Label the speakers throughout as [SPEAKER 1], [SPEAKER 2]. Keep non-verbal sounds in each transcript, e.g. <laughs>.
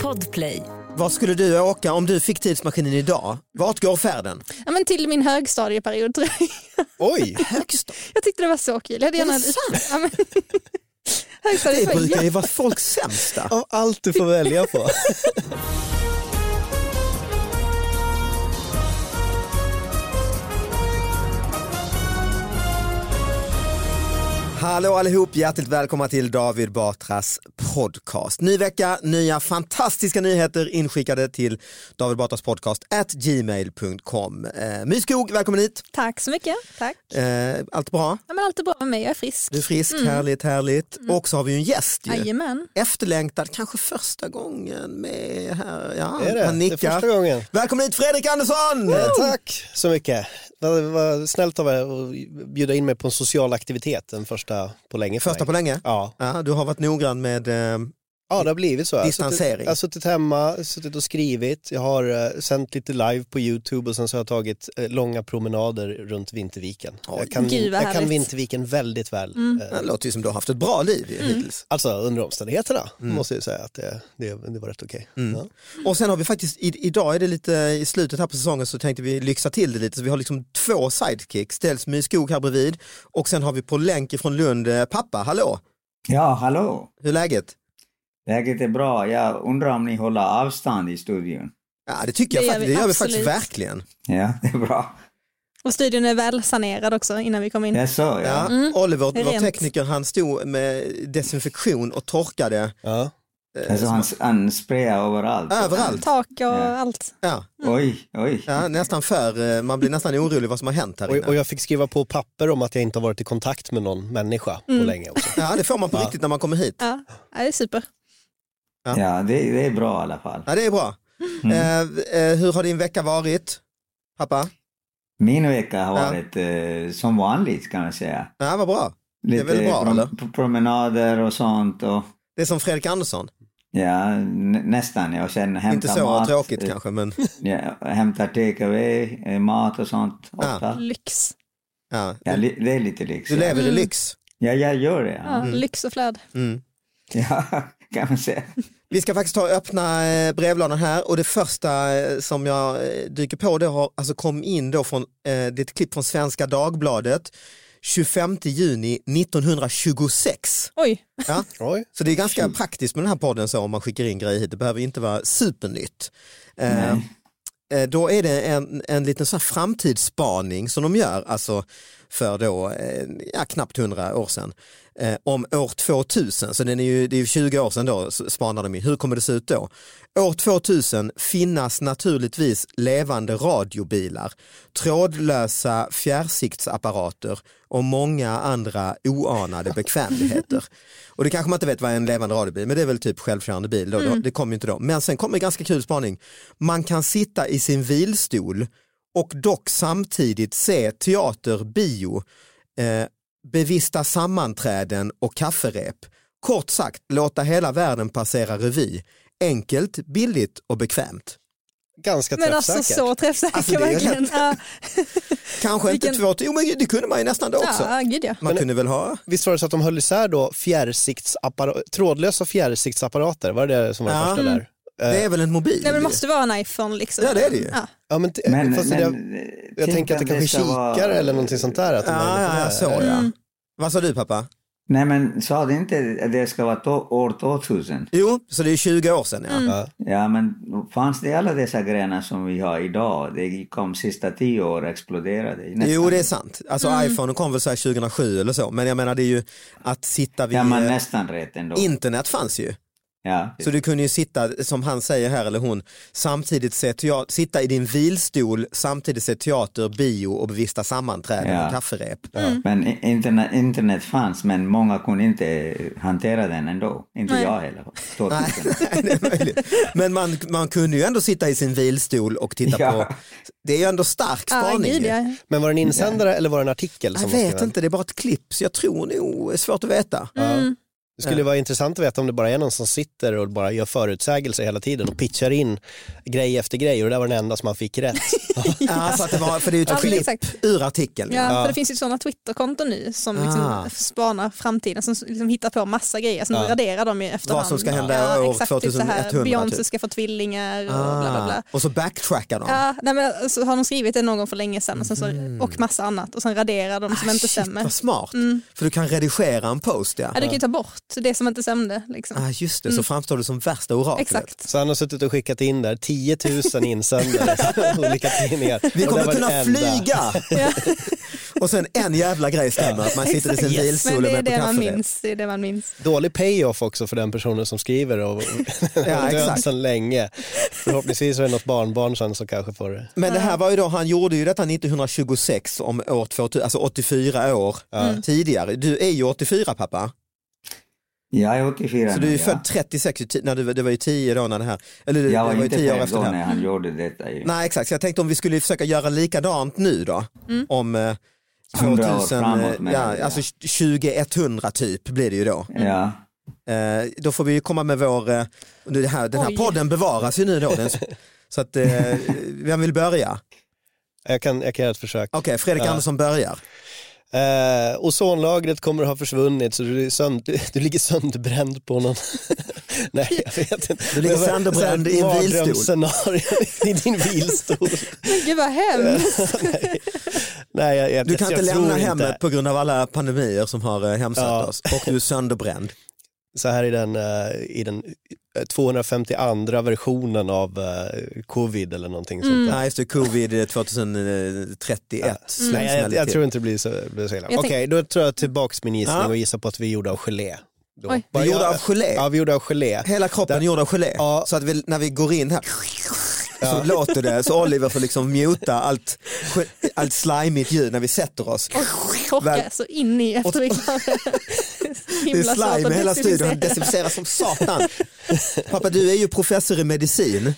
[SPEAKER 1] Podplay.
[SPEAKER 2] Vad skulle du åka om du fick tidsmaskinen idag? Vart går färden?
[SPEAKER 3] Ja, men till min högstadieperiod tror jag. <laughs>
[SPEAKER 2] Oj, högstadiet.
[SPEAKER 3] Jag tyckte det var så kul. Jag hade
[SPEAKER 2] Är det
[SPEAKER 3] gärna...
[SPEAKER 2] <laughs>
[SPEAKER 3] Ja, men...
[SPEAKER 2] Det
[SPEAKER 3] Högstadiet var
[SPEAKER 2] brukar ju vara folks sämsta.
[SPEAKER 4] Av allt du får välja på.
[SPEAKER 2] Hallå allihop, hjärtligt välkomna till David Batras podcast. Ny vecka, nya fantastiska nyheter inskickade till David Batras podcast at gmail.com. Eh, My Skog, välkommen hit.
[SPEAKER 3] Tack så mycket. Tack.
[SPEAKER 2] Eh, allt bra?
[SPEAKER 3] Ja, men allt är bra med mig, jag är frisk.
[SPEAKER 2] Du är frisk, härligt, härligt. Och så har vi ju en gäst ju.
[SPEAKER 3] Mm. Jajamän.
[SPEAKER 2] Efterlängtad, kanske första gången med här. Ja,
[SPEAKER 4] Är det?
[SPEAKER 2] Han
[SPEAKER 4] Det är
[SPEAKER 2] nickar.
[SPEAKER 4] första gången.
[SPEAKER 2] Välkommen hit Fredrik Andersson! Eh,
[SPEAKER 4] Tack så mycket. Det var snällt av er att bjuda in mig på en social aktivitet, den första på länge. för
[SPEAKER 2] Första
[SPEAKER 4] mig.
[SPEAKER 2] på länge.
[SPEAKER 4] Ja.
[SPEAKER 2] Ja, du har varit noggrann med eh,
[SPEAKER 4] ja, det har blivit så. Jag har suttit-
[SPEAKER 2] Distansering.
[SPEAKER 4] Jag har suttit hemma, suttit och skrivit. Jag har eh, sänt lite live på YouTube och sen så har jag tagit eh, långa promenader runt Vinterviken. jag kan,
[SPEAKER 3] Gud, vad
[SPEAKER 4] jag kan
[SPEAKER 3] härligt. Mm.
[SPEAKER 4] Vinterviken väldigt väl. eh,
[SPEAKER 2] det låter ju som du har haft ett bra liv ju, hittills.
[SPEAKER 4] Alltså under omständigheterna
[SPEAKER 2] Mm.
[SPEAKER 4] måste jag säga att det, det, det var rätt okej. Ja.
[SPEAKER 2] Och sen har vi faktiskt, i, idag är det lite i slutet här på säsongen så tänkte vi lyxa till det lite så vi har liksom två sidekicks, dels My Skog här bredvid och sen har vi på länk ifrån Lund, eh, pappa, hallå,
[SPEAKER 5] Ja, hallå!
[SPEAKER 2] hur är läget?
[SPEAKER 5] Läget är bra. Jag undrar om ni håller avstånd i studion?
[SPEAKER 2] Ja det tycker jag
[SPEAKER 3] Det gör
[SPEAKER 2] faktiskt,
[SPEAKER 3] vi,
[SPEAKER 2] det gör vi
[SPEAKER 3] absolut.
[SPEAKER 2] faktiskt verkligen.
[SPEAKER 5] Ja, <laughs> det är bra.
[SPEAKER 3] Och studion är väl sanerad också innan vi kom in.
[SPEAKER 5] Jag så,
[SPEAKER 2] Ja,
[SPEAKER 5] ja.
[SPEAKER 2] Oliver, vår
[SPEAKER 3] Rent.
[SPEAKER 2] tekniker, han stod med desinfektion och torkade eh,
[SPEAKER 4] Ja.
[SPEAKER 5] Alltså, han, han sprayar överallt.
[SPEAKER 2] överallt.
[SPEAKER 3] Tak och
[SPEAKER 5] Ja.
[SPEAKER 3] allt.
[SPEAKER 2] Ja,
[SPEAKER 5] Oj, oj.
[SPEAKER 2] ja, nästan för, eh, man blir nästan orolig vad som har hänt här
[SPEAKER 4] Och, och
[SPEAKER 2] inne.
[SPEAKER 4] jag fick skriva på papper om att jag inte har varit i kontakt med någon människa
[SPEAKER 3] Mm.
[SPEAKER 4] på
[SPEAKER 2] <laughs>
[SPEAKER 4] länge också.
[SPEAKER 2] Ja, det får man på riktigt när man kommer hit.
[SPEAKER 3] Ja, ja, det är super.
[SPEAKER 5] Ja, det, det är bra i alla fall.
[SPEAKER 2] Ja, det är bra. Eh, eh, hur har din vecka varit? Pappa?
[SPEAKER 5] Min vecka har
[SPEAKER 2] Ja.
[SPEAKER 5] varit eh, som vanligt kan man säga.
[SPEAKER 2] Ja, vad bra. är
[SPEAKER 5] Lite
[SPEAKER 2] väl bra, eller?
[SPEAKER 5] prom- promenader och sånt. Och,
[SPEAKER 2] Det är som Fredrik Andersson.
[SPEAKER 5] ja, nä- nästan. Jag sen hämtar
[SPEAKER 2] Inte så
[SPEAKER 5] mat.
[SPEAKER 2] tråkigt
[SPEAKER 5] eh,
[SPEAKER 2] kanske, men
[SPEAKER 5] Ja, hämtar take away, eh, mat och sånt.
[SPEAKER 2] Ja.
[SPEAKER 5] Ofta.
[SPEAKER 3] Lyx.
[SPEAKER 2] ja,
[SPEAKER 5] Ja, li- det är lite lyx.
[SPEAKER 2] du lever i
[SPEAKER 3] Mm.
[SPEAKER 2] lyx.
[SPEAKER 5] Ja, jag gör det.
[SPEAKER 3] Ja,
[SPEAKER 5] Ja,
[SPEAKER 3] Lyx och flöd.
[SPEAKER 2] Mm.
[SPEAKER 5] <laughs> ja kan man säga.
[SPEAKER 2] Vi ska faktiskt ta och öppna eh, brevlådan här och det första eh, som jag eh, dyker på det har alltså kom in då från, eh, det är ett klipp från Svenska Dagbladet 25 juni 1926.
[SPEAKER 3] Oj,
[SPEAKER 2] Ja,
[SPEAKER 4] Oj.
[SPEAKER 2] så det är ganska praktiskt med den här podden så om man skickar in grejer hit, det behöver inte vara supernytt. Eh,
[SPEAKER 5] Nej.
[SPEAKER 2] Eh, då är det en, en liten sån här framtidsspaning som de gör, alltså för då, eh, ja, knappt 100 år sedan, eh, om år 2000. Så den är ju, det är ju 20 år sedan då s- spanar de ju. Hur kommer det se ut då? År 2000 finnas naturligtvis levande radiobilar, trådlösa fjärrsiktsapparater och många andra oanade bekvämligheter. Och det kanske man inte vet vad en levande radiobil, men det är väl typ självkörande bil. Då.
[SPEAKER 3] Mm.
[SPEAKER 2] Det kom ju inte då. Men sen kommer en ganska kul spaning. Man kan sitta i sin vilstol och dock samtidigt se teater, bio, eh, bevista sammanträden och kafferep. Kort sagt, låta hela världen passera revy. Enkelt, billigt och bekvämt.
[SPEAKER 4] Ganska
[SPEAKER 3] men
[SPEAKER 4] träffsäkert.
[SPEAKER 3] alltså så träffsäker
[SPEAKER 2] Alltså, det är
[SPEAKER 3] verkligen. Ja,
[SPEAKER 2] Kanske inte
[SPEAKER 3] Vilken-
[SPEAKER 2] två, jo men det kunde man ju nästan då <laughs> också.
[SPEAKER 3] ja, gud ja.
[SPEAKER 2] Man kunde väl ha, eh,
[SPEAKER 4] Visst var det så att de höll isär då fjärrsiktsappara- trådlösa fjärrsiktsapparater? Var det det som var det
[SPEAKER 2] Ja.
[SPEAKER 4] första där?
[SPEAKER 2] det är väl en mobil?
[SPEAKER 3] Nej, men det måste vara en iPhone liksom.
[SPEAKER 2] Ja, det är det ju.
[SPEAKER 3] Ja.
[SPEAKER 4] Ja, men t-
[SPEAKER 5] Men,
[SPEAKER 4] fast
[SPEAKER 5] men, typ
[SPEAKER 4] jag, jag tänker att det kanske är
[SPEAKER 5] ska
[SPEAKER 4] kikare
[SPEAKER 5] vara-
[SPEAKER 4] eller någonting sånt där. Att de har
[SPEAKER 2] Ja,
[SPEAKER 3] Ah,
[SPEAKER 4] lite
[SPEAKER 2] ja, ja,
[SPEAKER 4] där.
[SPEAKER 2] så ja.
[SPEAKER 3] Mm.
[SPEAKER 2] Vad sa du pappa?
[SPEAKER 5] Nej men sa det inte att det ska vara to- år 2000?
[SPEAKER 2] Jo, så det är 20 år sedan ja.
[SPEAKER 3] Mm.
[SPEAKER 4] Ja.
[SPEAKER 5] Ja men fanns det alla dessa grenar som vi har idag? Det kom sista tio år och exploderade. Nästan.
[SPEAKER 2] Jo det är sant, alltså
[SPEAKER 3] Mm.
[SPEAKER 2] iPhone kom väl så här 2007 eller så, men jag menar det är ju att sitta vid,
[SPEAKER 5] Ja men nästan rätt ändå.
[SPEAKER 2] internet fanns ju.
[SPEAKER 5] ja.
[SPEAKER 2] eh, Så du kunde ju sitta, som han säger här eller hon, samtidigt se teater, sitta i din vilstol, samtidigt se teater, bio och bevista sammanträden
[SPEAKER 5] Ja.
[SPEAKER 2] och kafferep. Mm.
[SPEAKER 5] Men i- internet, internet fanns men många kunde inte hantera den ändå. Inte
[SPEAKER 3] Nej.
[SPEAKER 5] jag heller. 2000.
[SPEAKER 2] <laughs> det är möjligt. Men man, man kunde ju ändå sitta i sin vilstol och <laughs> titta
[SPEAKER 5] Ja.
[SPEAKER 2] på, det är ju ändå stark
[SPEAKER 3] Ja,
[SPEAKER 2] spaning.
[SPEAKER 3] gud
[SPEAKER 2] ju.
[SPEAKER 3] ja.
[SPEAKER 4] Men var det en
[SPEAKER 5] Mm.
[SPEAKER 4] insändare eller var det en artikel?
[SPEAKER 2] jag
[SPEAKER 4] Som de
[SPEAKER 3] <laughs>
[SPEAKER 4] skrev?
[SPEAKER 3] Mm.
[SPEAKER 2] vet inte, det är bara ett klipp så jag tror nog, det är svårt att veta.
[SPEAKER 4] Det skulle vara intressant att veta om det bara är någon som sitter och bara gör förutsägelser hela tiden och pitchar in grej efter grej och det där var den enda som man fick rätt.
[SPEAKER 2] Ja, så att det var, för det är ju ett
[SPEAKER 3] Ja, men
[SPEAKER 2] klipp
[SPEAKER 3] exakt.
[SPEAKER 2] ur artikeln. liksom.
[SPEAKER 3] Ja, för det finns ju sådana Twitterkonton nu som liksom
[SPEAKER 2] Ah.
[SPEAKER 3] spanar framtiden, som liksom hittar på massa grejer, som
[SPEAKER 4] Ja.
[SPEAKER 3] raderar dem i efterhand.
[SPEAKER 2] Vad som ska hända år
[SPEAKER 3] exakt, typ så här,
[SPEAKER 2] 2100,
[SPEAKER 3] Beyoncé
[SPEAKER 2] typ.
[SPEAKER 3] ska få tvillingar och bla bla
[SPEAKER 2] Ah,
[SPEAKER 3] bla.
[SPEAKER 2] och så backtrackar de.
[SPEAKER 3] Ja, nej, men så har de skrivit det någon gång för länge sedan och, sen så, och massa annat och sen raderar de som inte
[SPEAKER 2] Mhm. Ah, Shit,
[SPEAKER 3] stämmer. Mm.
[SPEAKER 2] vad smart. För du kan redigera en post ja.
[SPEAKER 3] Ja, du kan ju ta bort det som inte stämde. Liksom.
[SPEAKER 2] Ah, just det, så framstår du som värsta oraklet.
[SPEAKER 3] Exakt.
[SPEAKER 4] Så han har suttit och skickat in där 10 000 insändare <laughs> olika tidningar.
[SPEAKER 2] Vi
[SPEAKER 4] Och det
[SPEAKER 2] kommer
[SPEAKER 4] var
[SPEAKER 2] kunna
[SPEAKER 4] den enda.
[SPEAKER 2] flyga!
[SPEAKER 3] <laughs> Ja,
[SPEAKER 2] <laughs> Och sen en jävla grej stämmer, att man sitter i sin
[SPEAKER 3] exakt.
[SPEAKER 2] bilstol
[SPEAKER 3] Men
[SPEAKER 2] och
[SPEAKER 3] det är
[SPEAKER 2] med på
[SPEAKER 3] det man
[SPEAKER 2] kaffe.
[SPEAKER 3] minns. Det är det man minns.
[SPEAKER 4] Dålig payoff också för den personen som skriver
[SPEAKER 2] <laughs>
[SPEAKER 4] och ja, <laughs> död
[SPEAKER 2] exakt.
[SPEAKER 4] sedan länge. Förhoppningsvis är det något barnbarn sen som kanske får det.
[SPEAKER 2] Men det här var ju då, han gjorde ju detta 1926 om år 2000, alltså 84 år
[SPEAKER 3] Mm.
[SPEAKER 2] eh, tidigare. Du är ju 84 pappa,
[SPEAKER 5] Jag är 84
[SPEAKER 2] så du är ju
[SPEAKER 5] nu,
[SPEAKER 2] född 36, ju ti- när du, det var ju 10 då när det här, eller
[SPEAKER 5] ja.
[SPEAKER 2] det
[SPEAKER 5] Jag var
[SPEAKER 2] var ju
[SPEAKER 5] inte
[SPEAKER 2] 10 år
[SPEAKER 5] född
[SPEAKER 2] efter
[SPEAKER 5] då
[SPEAKER 2] det här.
[SPEAKER 5] när han gjorde detta. Ju.
[SPEAKER 2] Nej exakt, så jag tänkte om vi skulle försöka göra likadant nu då.
[SPEAKER 4] Mm.
[SPEAKER 2] Om eh, 2000,
[SPEAKER 5] 100 år framåt
[SPEAKER 2] eh,
[SPEAKER 5] menar
[SPEAKER 2] ja,
[SPEAKER 5] du, ja.
[SPEAKER 2] alltså 2100 typ blir det ju då.
[SPEAKER 5] Ja. <laughs>
[SPEAKER 2] Eh, då får vi ju komma med vår, eh, nu det här, den här
[SPEAKER 3] Oj.
[SPEAKER 2] podden bevaras ju nu då.
[SPEAKER 5] <laughs>
[SPEAKER 2] Den, så att, eh, vem vill börja? Okej,
[SPEAKER 4] Jag kan, jag kan göra ett försök.
[SPEAKER 2] Fredrik Andersson börjar.
[SPEAKER 4] Eh, ozonlagret kommer att ha försvunnit så du, är sönd- du, du ligger sönderbränd på någon... <laughs> Nej, jag vet inte.
[SPEAKER 2] Du ligger
[SPEAKER 4] Det var
[SPEAKER 2] sönderbränd i en
[SPEAKER 4] så här
[SPEAKER 2] bilstol.
[SPEAKER 4] mardrömsscenario i din
[SPEAKER 2] <laughs>
[SPEAKER 4] bilstol.
[SPEAKER 3] Gud vad hemskt.
[SPEAKER 4] Nej, jag, jag,
[SPEAKER 2] Du kan
[SPEAKER 4] jag
[SPEAKER 2] inte
[SPEAKER 4] tror
[SPEAKER 2] lämna
[SPEAKER 4] inte.
[SPEAKER 2] hemmet på grund av alla pandemier som har eh, hemsökt
[SPEAKER 4] Ja.
[SPEAKER 2] oss och du är sönderbränd.
[SPEAKER 4] Så här i den, eh, i den eh, 252 versionen av eh, covid eller någonting sånt där.
[SPEAKER 2] Nej, just det, covid eh, 2031. Mm.
[SPEAKER 4] Nej, jag, jag tror inte det blir så, blir så illa. Okej,
[SPEAKER 3] Jag tänk-
[SPEAKER 4] då tror jag tillbaks min gissning
[SPEAKER 2] Ja.
[SPEAKER 4] och gissar på att vi gjorde av gelé. Då.
[SPEAKER 3] Oj.
[SPEAKER 4] Bara
[SPEAKER 2] Vi gjorde
[SPEAKER 4] jag-
[SPEAKER 2] av gelé? Mm.
[SPEAKER 4] Ja, vi gjorde av gelé.
[SPEAKER 2] Hela kroppen är gjord av gelé.
[SPEAKER 4] Ja.
[SPEAKER 2] Så att vi, när vi går in här så låter det, så Oliver får liksom muta allt, allt slimigt ljud när vi sätter oss.
[SPEAKER 3] Chockar så in i efter vi är
[SPEAKER 2] <laughs>
[SPEAKER 3] klara.
[SPEAKER 2] Det är
[SPEAKER 3] Himla svårt
[SPEAKER 2] slime
[SPEAKER 3] att
[SPEAKER 2] i hela studion, han desinficerar
[SPEAKER 3] desinficera.
[SPEAKER 2] som satan. Pappa, du är ju professor i medicin.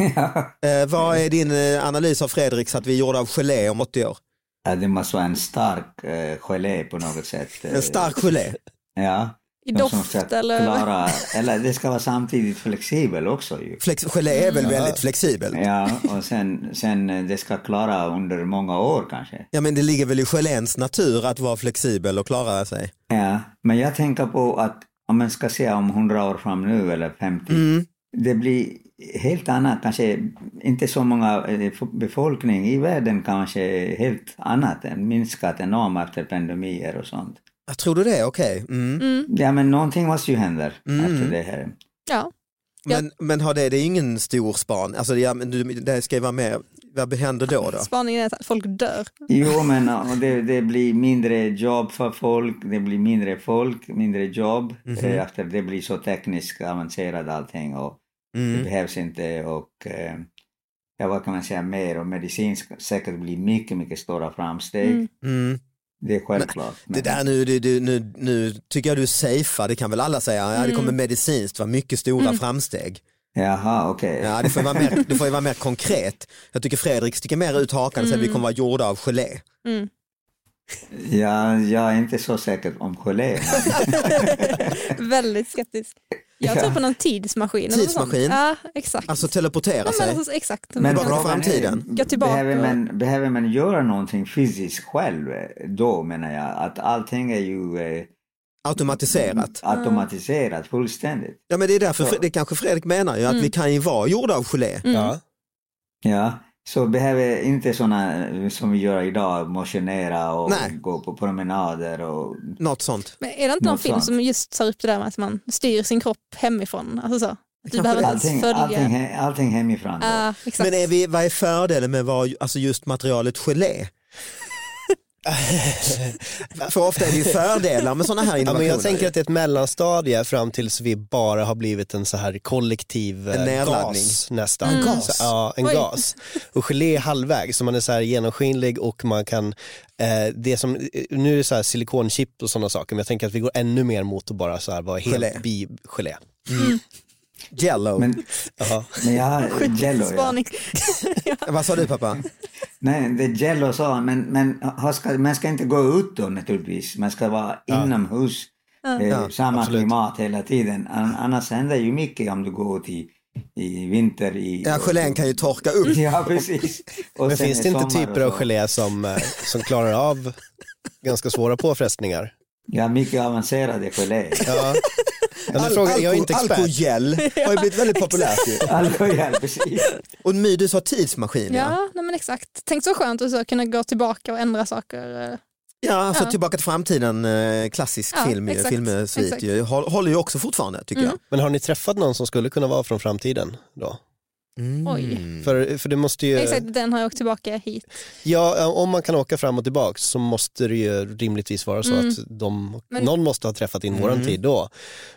[SPEAKER 2] Eh, vad är din eh, analys av Fredriks att vi är gjorda av gelé om 80 år?
[SPEAKER 5] ja, det måste vara en stark eh, gelé på något sätt. eh,
[SPEAKER 2] En stark gelé.
[SPEAKER 5] Ja.
[SPEAKER 3] I
[SPEAKER 5] De som
[SPEAKER 3] doft
[SPEAKER 5] ska
[SPEAKER 3] eller?
[SPEAKER 5] Klara, eller det ska vara samtidigt flexibel också ju.
[SPEAKER 2] Flex, gelé är väl väldigt flexibel?
[SPEAKER 5] Ja, och sen, sen eh, det ska klara under många år kanske.
[SPEAKER 2] Ja men det ligger väl i geléns natur att vara flexibel och klara sig.
[SPEAKER 5] Ja, men jag tänker på att om man ska se om 100 år fram nu eller 50,
[SPEAKER 2] Mm.
[SPEAKER 5] det blir helt annat, kanske inte så många eh, f- befolkning i världen kanske helt annat, eh, minskat enormt efter pandemier och sånt.
[SPEAKER 2] Ah, tror du det? Okej. Mm.
[SPEAKER 5] Ja, men någonting måste ju hända efter det här.
[SPEAKER 3] Ja.
[SPEAKER 2] Men, men har det, det är ingen stor span. Alltså, ja, men du, det ska ju vara med. Vad händer då? då?
[SPEAKER 3] Spaningen är att folk dör.
[SPEAKER 5] Jo, men och det, det blir mindre jobb för folk, det blir mindre folk, mindre jobb.
[SPEAKER 2] Mhm.
[SPEAKER 5] eh, Efter det blir så tekniskt avancerat allting och det
[SPEAKER 2] Mm.
[SPEAKER 5] behövs inte och eh, ja, vad kan man säga mer och medicin ska säkert bli mycket, mycket stora framsteg.
[SPEAKER 3] Mm.
[SPEAKER 2] Mm.
[SPEAKER 5] Det är självklart.
[SPEAKER 2] Det där nu, du, du, nu, nu tycker jag du safear, det kan väl alla säga. Ja, det kommer medicinskt vara mycket stora framsteg.
[SPEAKER 5] Jaha, okej.
[SPEAKER 2] Ja, det, får ju vara mer, det får ju vara mer konkret. Jag tycker Fredrik sticker mer ut hakan och säger att vi kommer vara gjorda av gelé.
[SPEAKER 3] Mm.
[SPEAKER 5] Ja, jag är inte så säker om gelé.
[SPEAKER 2] <laughs>
[SPEAKER 3] Väldigt skeptisk. Jag
[SPEAKER 5] Ja.
[SPEAKER 3] tror på någon tidsmaskin. eller något sånt.
[SPEAKER 2] Tidsmaskin?
[SPEAKER 3] Ja, exakt.
[SPEAKER 2] Alltså teleportera
[SPEAKER 3] Nej, men
[SPEAKER 2] sig.
[SPEAKER 3] alltså, exakt.
[SPEAKER 5] Men
[SPEAKER 2] Tillbaka till
[SPEAKER 5] frågan är,
[SPEAKER 2] framtiden.
[SPEAKER 3] Gå tillbaka.
[SPEAKER 5] Behöver man, behöver man göra någonting fysiskt själv eh, då menar jag att allting är ju eh,
[SPEAKER 2] Automatiserat.
[SPEAKER 5] Mm. automatiserat fullständigt.
[SPEAKER 2] Ja, Mm. men det är därför Fre- det kanske Fredrik menar, ju, att vi kan ju vara gjorda av gelé.
[SPEAKER 3] Mm.
[SPEAKER 4] Ja.
[SPEAKER 5] Ja, så behöver inte sådana som vi gör idag, motionera och
[SPEAKER 2] Nej.
[SPEAKER 5] gå på promenader och
[SPEAKER 2] Något sånt.
[SPEAKER 3] Men är det inte någon
[SPEAKER 5] Något
[SPEAKER 3] film
[SPEAKER 5] sånt.
[SPEAKER 3] som just tar upp det där med att man styr sin kropp hemifrån? Alltså så. Att Du behöver inte
[SPEAKER 5] allting,
[SPEAKER 3] ens följa. Ah.
[SPEAKER 5] allting, he- allting hemifrån. då.
[SPEAKER 3] Ja, exakt.
[SPEAKER 2] Men är vi, vad är fördelen med vad, alltså just materialet gelé? <laughs> För ofta är det ju fördelar med sådana här
[SPEAKER 4] Ja, men
[SPEAKER 2] innovationer.
[SPEAKER 4] jag tänker att det är ett mellanstadie fram tills vi bara har blivit en så här kollektiv eh,
[SPEAKER 2] En nedladdning.
[SPEAKER 4] gas nästan.
[SPEAKER 2] En gas?
[SPEAKER 4] Så, ja, en
[SPEAKER 3] Oj.
[SPEAKER 4] gas. Och gelé är halvvägs, så man är så här genomskinlig och man kan, eh, det som, eh, nu är det så här silikonchip och sådana saker, men jag tänker att vi går ännu mer mot att bara så här vara helt
[SPEAKER 2] Gelé.
[SPEAKER 4] bi gelé.
[SPEAKER 2] Jello.
[SPEAKER 5] Men,
[SPEAKER 4] Ja.
[SPEAKER 3] <laughs>
[SPEAKER 5] men jag har Jello, ja.
[SPEAKER 3] Spaning.
[SPEAKER 2] Vad sa du pappa?
[SPEAKER 4] Mm.
[SPEAKER 5] Nej, det är Jello sa han, men, men ha- ska, man ska inte gå ut då naturligtvis. Man ska vara inomhus.
[SPEAKER 3] Ah.
[SPEAKER 5] Eh,
[SPEAKER 2] Ja,
[SPEAKER 5] samma
[SPEAKER 4] absolut.
[SPEAKER 5] klimat hela tiden. An- Annars händer ju mycket om du går ut i, i vinter. I,
[SPEAKER 2] Ja, gelén kan ju torka upp.
[SPEAKER 5] Ja,
[SPEAKER 4] <laughs>
[SPEAKER 5] precis. Och
[SPEAKER 4] Men
[SPEAKER 5] sen
[SPEAKER 4] finns
[SPEAKER 5] är
[SPEAKER 4] det inte
[SPEAKER 5] sommar och
[SPEAKER 4] typer av
[SPEAKER 5] så.
[SPEAKER 4] gelé som, eh, som klarar av ganska svåra påfrestningar?
[SPEAKER 5] Ja, mycket avancerade
[SPEAKER 2] <laughs>
[SPEAKER 5] gelé. <laughs>
[SPEAKER 4] Ja. Ja, nu
[SPEAKER 2] Al-
[SPEAKER 4] frågar, jag är
[SPEAKER 2] alko-
[SPEAKER 4] inte expert.
[SPEAKER 2] Alkogel har ju blivit
[SPEAKER 4] <laughs>
[SPEAKER 2] väldigt populärt ju.
[SPEAKER 5] Alkohol, precis.
[SPEAKER 2] Och My, du sa tidsmaskin ja.
[SPEAKER 3] Ja, nej men exakt. Tänk så skönt att så kunna gå tillbaka och ändra saker. eh.
[SPEAKER 2] Ja, alltså
[SPEAKER 3] Ja.
[SPEAKER 2] Tillbaka till framtiden, eh, klassisk
[SPEAKER 3] Ja,
[SPEAKER 2] film, ju,
[SPEAKER 3] exakt,
[SPEAKER 2] filmsvit
[SPEAKER 3] exakt.
[SPEAKER 2] ju, Håll- håller ju också fortfarande tycker jag.
[SPEAKER 4] Men har ni träffat någon som skulle kunna vara från framtiden då?
[SPEAKER 2] Mm.
[SPEAKER 3] Oj.
[SPEAKER 4] För, för det måste ju...
[SPEAKER 3] Exakt, den har jag åkt tillbaka hit.
[SPEAKER 4] Ja, om man kan åka fram och tillbaks så måste det ju rimligtvis vara så
[SPEAKER 3] Mm.
[SPEAKER 4] att de,
[SPEAKER 3] Men-
[SPEAKER 4] någon måste ha träffat in våran
[SPEAKER 2] Mm.
[SPEAKER 4] tid då.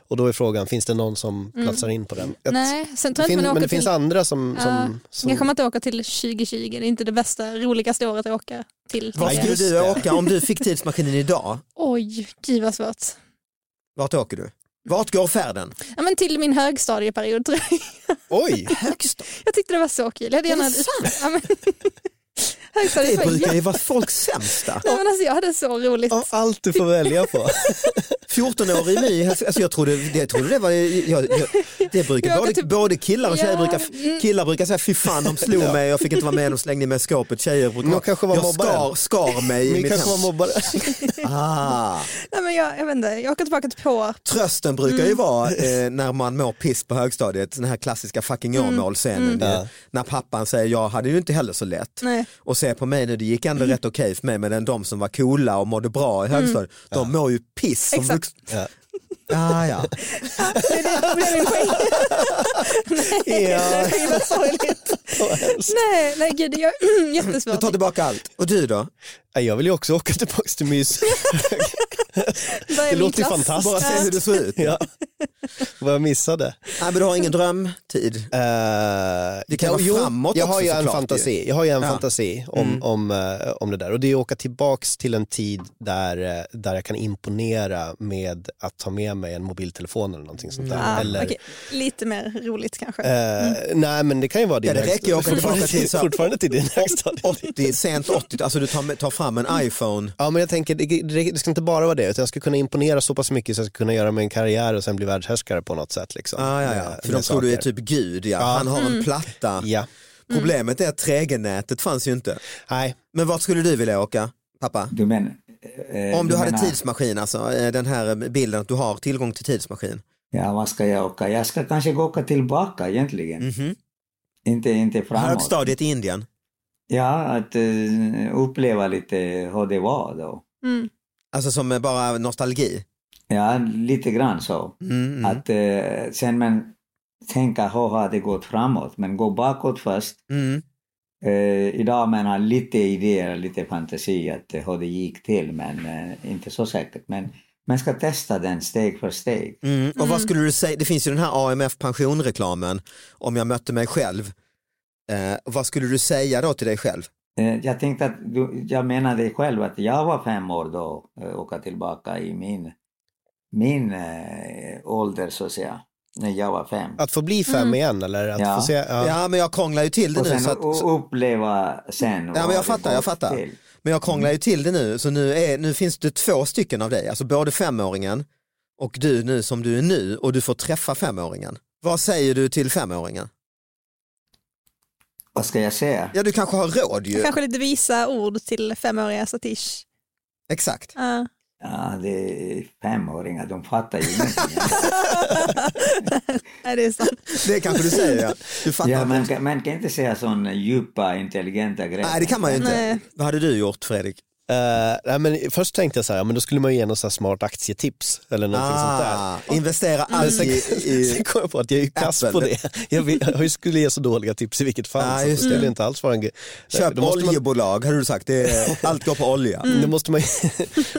[SPEAKER 4] Och då är frågan, finns det någon som
[SPEAKER 3] Mm.
[SPEAKER 4] platsar in på den? Jag-
[SPEAKER 3] Nej, sen
[SPEAKER 4] det
[SPEAKER 3] tror jag
[SPEAKER 4] fin-
[SPEAKER 3] inte man
[SPEAKER 4] men
[SPEAKER 3] åker
[SPEAKER 4] det finns
[SPEAKER 3] till...
[SPEAKER 4] andra som... som, som <laughs>
[SPEAKER 3] Kanske man inte åker till 2020, det är inte det bästa, roligaste året att åka till.
[SPEAKER 2] Var
[SPEAKER 4] Ja,
[SPEAKER 2] skulle
[SPEAKER 4] just
[SPEAKER 2] du
[SPEAKER 4] det.
[SPEAKER 2] åka om du fick tidsmaskinen idag?
[SPEAKER 3] Oj, gud vad svårt.
[SPEAKER 2] Vart åker du? Vart går färden?
[SPEAKER 3] Ja, men till min högstadieperiod tror jag.
[SPEAKER 4] Oj!
[SPEAKER 2] Högsta.
[SPEAKER 3] Jag tyckte det var så kul. Jag hade gärna...
[SPEAKER 2] Är det
[SPEAKER 3] Ja, men...
[SPEAKER 2] Det
[SPEAKER 3] <laughs> Högstadiet var
[SPEAKER 2] brukar ju vara folks sämsta.
[SPEAKER 3] Nej, men alltså, jag hade så roligt.
[SPEAKER 4] Av allt du får välja på.
[SPEAKER 2] 14-årig My, alltså jag trodde, jag trodde det var, jag, jag, det brukar
[SPEAKER 3] Jag
[SPEAKER 2] både,
[SPEAKER 3] kan typ-
[SPEAKER 2] både killar och tjejer
[SPEAKER 3] Ja,
[SPEAKER 2] brukar,
[SPEAKER 3] mm.
[SPEAKER 2] killar brukar säga fy fan de slog mig, jag fick inte vara med, de slängde mig i skåpet, tjejer brukar,
[SPEAKER 4] Jag kanske var
[SPEAKER 2] jag skar,
[SPEAKER 4] mobbaren.
[SPEAKER 2] skar mig i
[SPEAKER 4] Ni
[SPEAKER 2] mitt
[SPEAKER 4] kanske var
[SPEAKER 2] hem.
[SPEAKER 3] <laughs>
[SPEAKER 4] mobbare.
[SPEAKER 2] Ah.
[SPEAKER 3] Nej, men jag, jag, vet inte, jag åker tillbaka till Påarp.
[SPEAKER 2] Trösten brukar ju vara eh, när man mår piss på högstadiet, den här klassiska fucking Åmål-scenen. ju.
[SPEAKER 4] Ja.
[SPEAKER 2] När pappan säger jag hade ju inte heller så lätt.
[SPEAKER 3] Nej.
[SPEAKER 2] Och se på mig nu, det gick ändå rätt okej för mig men de som var coola och mådde bra i högstadiet, de mår ju piss. Som
[SPEAKER 3] Exakt.
[SPEAKER 2] vuxna.
[SPEAKER 4] Ja.
[SPEAKER 2] Ah, ja.
[SPEAKER 3] <laughs> Det är det- det är min poäng.
[SPEAKER 4] <laughs> Ja.
[SPEAKER 3] Det var sorgligt. Nej, nej gud, jag,
[SPEAKER 2] Jag
[SPEAKER 3] <clears throat> jättesvårt.
[SPEAKER 2] tar tillbaka allt. Och du då?
[SPEAKER 4] Nej, Jag vill ju också åka tillbaks
[SPEAKER 3] <laughs>
[SPEAKER 4] till mys.
[SPEAKER 3] Vad är
[SPEAKER 4] det
[SPEAKER 3] min
[SPEAKER 4] låter ju
[SPEAKER 3] klass?
[SPEAKER 4] fantastiskt.
[SPEAKER 2] Bara se hur det ser ut.
[SPEAKER 4] Ja. Vad jag missade.
[SPEAKER 2] Nej, men du har ingen drömtid.
[SPEAKER 4] Eh,
[SPEAKER 2] Det kan
[SPEAKER 4] ja,
[SPEAKER 2] vara framåt
[SPEAKER 4] jag
[SPEAKER 2] också
[SPEAKER 4] har ju en
[SPEAKER 2] såklart ju.
[SPEAKER 4] fantasi, Jag har ju en
[SPEAKER 2] Ja. Mm.
[SPEAKER 4] fantasi om, om, eh, om det där och det är att åka tillbaks till en tid där, eh, där jag kan imponera med att ta med mig en mobiltelefon eller någonting sånt där.
[SPEAKER 3] Ja,
[SPEAKER 4] eller,
[SPEAKER 3] Mm. Ah, okej. Lite mer roligt kanske.
[SPEAKER 4] eh, Nej men det kan ju vara din
[SPEAKER 2] Ja, det
[SPEAKER 4] högsta-
[SPEAKER 2] räcker ju att åka tillbaka
[SPEAKER 4] fortfarande
[SPEAKER 2] till så-
[SPEAKER 4] fortfarande till din
[SPEAKER 2] <laughs>
[SPEAKER 4] högstadie.
[SPEAKER 2] 80, sent 80, alltså du tar, tar fram en iPhone.
[SPEAKER 4] Ja men jag tänker, det, det, det ska inte bara vara det utan jag ska kunna imponera så pass mycket så jag ska kunna göra mig en karriär och sen bli världshärskare på något sätt. Liksom,
[SPEAKER 2] Ah, ja,
[SPEAKER 4] Med-
[SPEAKER 2] ja. För
[SPEAKER 4] med
[SPEAKER 2] de tror du är
[SPEAKER 4] saker. Mm.
[SPEAKER 2] typ gud, ja. han har en platta.
[SPEAKER 4] Ja,
[SPEAKER 2] Problemet är att 3G-nätet fanns ju inte.
[SPEAKER 4] nej.
[SPEAKER 2] Men vart skulle du vilja åka, pappa?
[SPEAKER 5] Du menar... eh,
[SPEAKER 2] Om du hade
[SPEAKER 5] menar-
[SPEAKER 2] tidsmaskin, alltså eh, den här bilden att du har tillgång till tidsmaskin.
[SPEAKER 5] Ja, vad ska jag åka? Jag ska kanske gå åka tillbaka egentligen.
[SPEAKER 2] Mhm.
[SPEAKER 5] Inte, inte framåt.
[SPEAKER 2] Högstadiet i Indien.
[SPEAKER 5] Ja, att eh, uppleva lite hur det var då.
[SPEAKER 3] Mm.
[SPEAKER 2] Alltså som eh, bara nostalgi.
[SPEAKER 5] Ja, lite grann så.
[SPEAKER 2] Mm, mm.
[SPEAKER 5] Att eh, sen men tänka hur har det gått framåt? Men gå bakåt först.
[SPEAKER 2] Mm.
[SPEAKER 5] Eh, idag man har lite idéer, lite fantasi att eh, hur det gick till, men eh, inte så säkert. Men man ska testa den steg för steg.
[SPEAKER 2] Mm. Och vad skulle du säga, det finns ju den här AMF pensionreklamen, om jag mötte mig själv. Eh, vad skulle du säga då till dig själv?
[SPEAKER 5] Eh, jag tänkte att du, jag menade själv att jag var fem år då, eh, åka tillbaka i min, min eh, ålder så att säga, när jag var fem.
[SPEAKER 4] Att få bli fem igen eller att
[SPEAKER 5] Ja.
[SPEAKER 4] få se, ja.
[SPEAKER 2] Ja, men jag krånglar ju till det
[SPEAKER 5] Och
[SPEAKER 2] nu.
[SPEAKER 5] sen
[SPEAKER 2] Så att,
[SPEAKER 5] u- uppleva sen. vad
[SPEAKER 2] ja, men
[SPEAKER 5] det
[SPEAKER 2] jag fattar,
[SPEAKER 5] gått
[SPEAKER 2] jag fattar.
[SPEAKER 5] till.
[SPEAKER 2] Men jag krånglar ju till det nu, så nu, är, nu finns det två stycken av dig, alltså både femåringen och du nu som du är nu och du får träffa femåringen. Vad säger du till femåringen?
[SPEAKER 5] Vad ska jag säga?
[SPEAKER 2] Ja, du kanske har råd
[SPEAKER 3] <laughs>
[SPEAKER 2] ju.
[SPEAKER 3] Kanske lite visa ord till femåriga Satish.
[SPEAKER 2] Exakt.
[SPEAKER 3] Ja.
[SPEAKER 5] Ja, det är femåringar, de fattar ju
[SPEAKER 2] <laughs>
[SPEAKER 5] ingenting.
[SPEAKER 3] Nej, det är sant.
[SPEAKER 2] Det kanske du säger, ja. Du fattar.
[SPEAKER 5] ja, man, kan, man kan inte säga sådana djupa, intelligenta grejer.
[SPEAKER 2] Nej, det kan man ju inte.
[SPEAKER 3] Nej.
[SPEAKER 2] Vad hade du gjort, Fredrik?
[SPEAKER 4] Eh, nej, men först tänkte jag så här, ja, men då skulle man ju ge någon så här smart aktietips eller någonting sånt där.
[SPEAKER 2] Ah, investera
[SPEAKER 3] Mm.
[SPEAKER 2] allt i... i
[SPEAKER 4] Sen kom jag på att jag är ju kass
[SPEAKER 2] Apple.
[SPEAKER 4] på det. Jag, vill, jag skulle ge så dåliga tips i vilket fall.
[SPEAKER 2] Ah,
[SPEAKER 4] så det
[SPEAKER 2] just det.
[SPEAKER 4] skulle inte alls vara en grej. Eh,
[SPEAKER 2] köp
[SPEAKER 4] Då måste man-
[SPEAKER 2] oljebolag, hade du sagt. Det är, allt går på olja.
[SPEAKER 3] Mm.
[SPEAKER 4] Då måste man, ju-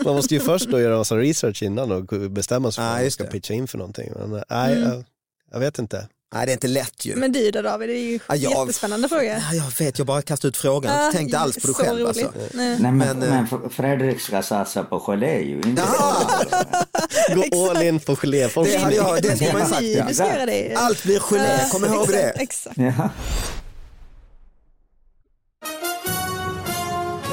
[SPEAKER 4] <laughs> man måste ju först då göra en massa research innan och bestämma
[SPEAKER 2] Ah,
[SPEAKER 4] sig för vad man
[SPEAKER 2] just
[SPEAKER 4] ska
[SPEAKER 2] det. Mm.
[SPEAKER 4] pitcha in för någonting. Men, eh, nej, jag, jag
[SPEAKER 2] <laughs>
[SPEAKER 4] vet inte.
[SPEAKER 2] Nej, det är inte lätt ju.
[SPEAKER 3] Men du då David, det är ju
[SPEAKER 2] Ja, jag-
[SPEAKER 3] jättespännande fråga.
[SPEAKER 2] Ja, jag vet, jag bara kastade ut frågan. Jag tänkte inte alls på det
[SPEAKER 3] Ah, så
[SPEAKER 2] själv.
[SPEAKER 3] roligt.
[SPEAKER 2] Alltså.
[SPEAKER 3] Nej.
[SPEAKER 5] Nej, men,
[SPEAKER 2] Men, eh,
[SPEAKER 5] men F- Fredrik ska satsa på gelé ju, inte
[SPEAKER 2] Jaha! <laughs>
[SPEAKER 4] Gå all in på
[SPEAKER 2] Det hade
[SPEAKER 4] geléforskning.
[SPEAKER 2] jag, det skulle man ju sagt.
[SPEAKER 3] Ni,
[SPEAKER 2] Ja.
[SPEAKER 3] Du ska göra det.
[SPEAKER 2] Allt blir gelé,
[SPEAKER 3] Ja,
[SPEAKER 2] kom ihåg
[SPEAKER 3] exakt,
[SPEAKER 2] det.
[SPEAKER 3] Exakt.
[SPEAKER 5] Ja.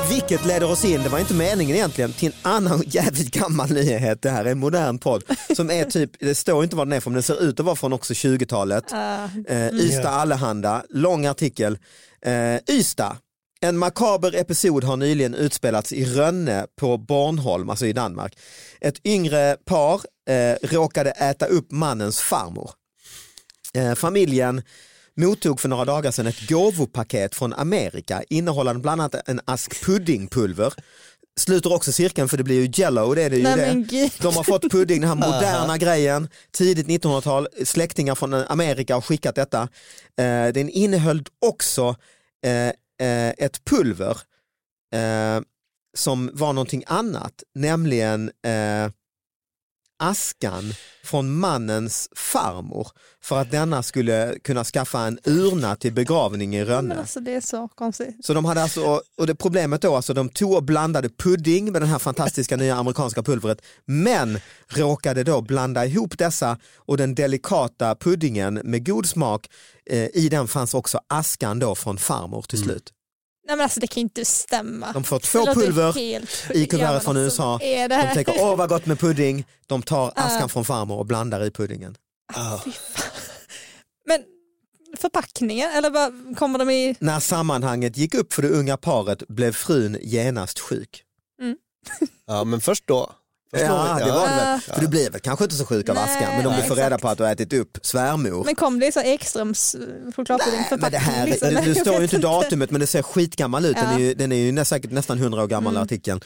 [SPEAKER 2] Vilket leder oss in, det var inte meningen egentligen, till en annan <laughs> jävligt gammal nyhet. Det här är en modern podd som är typ, det står inte vad den är från, men den ser ut att vara från också 20-talet.
[SPEAKER 3] Ah.
[SPEAKER 2] Eh, Ystad Allehanda, lång artikel. Eh, Ystad, en makaber episod har nyligen utspelats i Rönne på Bornholm, alltså i Danmark. Ett yngre par eh, råkade äta upp mannens farmor. Eh, familjen mottog för några dagar sedan ett gåvopaket från Amerika innehållande bland annat en ask puddingpulver. Sluter också cirkeln för det blir ju jello, det är det ju
[SPEAKER 3] Nej,
[SPEAKER 2] det.
[SPEAKER 3] men gud.
[SPEAKER 2] De har fått pudding, den här moderna grejen, tidigt 1900-tal, släktingar från Amerika har skickat detta. Eh, den innehöll också eh, eh, ett pulver eh, som var någonting annat, nämligen eh, askan från mannens farmor för att denna skulle kunna skaffa en urna till begravning i
[SPEAKER 3] Men
[SPEAKER 2] Rönne.
[SPEAKER 3] alltså det är så konstigt.
[SPEAKER 2] Så de hade alltså, och det problemet då, alltså de tog och blandade pudding med det här fantastiska nya amerikanska pulvret, men råkade då blanda ihop dessa och den delikata puddingen med god smak, eh, i den fanns också askan då från farmor till
[SPEAKER 3] Mm.
[SPEAKER 2] slut.
[SPEAKER 3] Nej men alltså det kan ju inte stämma.
[SPEAKER 2] De får
[SPEAKER 3] Det
[SPEAKER 2] två
[SPEAKER 3] låter
[SPEAKER 2] pulver
[SPEAKER 3] helt sjukt.
[SPEAKER 2] i
[SPEAKER 3] Ja, men
[SPEAKER 2] kuvertet från
[SPEAKER 3] alltså,
[SPEAKER 2] USA.
[SPEAKER 3] vad Är det
[SPEAKER 2] De
[SPEAKER 3] här?
[SPEAKER 2] tänker, åh vad gott med pudding, de tar askan från farmor och blandar i puddingen.
[SPEAKER 3] Ah. Men förpackningen eller vad kommer de i?
[SPEAKER 2] När sammanhanget gick upp för det unga paret blev frun genast sjuk.
[SPEAKER 4] Ja, men först då. Först
[SPEAKER 2] Ja,
[SPEAKER 4] då-
[SPEAKER 2] det var det väl.
[SPEAKER 3] Ah.
[SPEAKER 2] För du blir väl kanske inte så sjuk av
[SPEAKER 3] Nej,
[SPEAKER 2] askan, men om du
[SPEAKER 3] nej,
[SPEAKER 2] får reda
[SPEAKER 3] exakt.
[SPEAKER 2] på att du har ätit upp svärmor.
[SPEAKER 3] Men kom det i så här Ekströms chokladpuddingförpackning?
[SPEAKER 2] Men det här,
[SPEAKER 3] liksom?
[SPEAKER 2] det,
[SPEAKER 3] Nej,
[SPEAKER 2] det
[SPEAKER 3] jag
[SPEAKER 2] står
[SPEAKER 3] vet
[SPEAKER 2] ju inte datumet men det ser skitgammal ut. Den är
[SPEAKER 3] Ja. Mm.
[SPEAKER 2] ju, den är ju nä, säkert nästan 100 år gammal artikeln.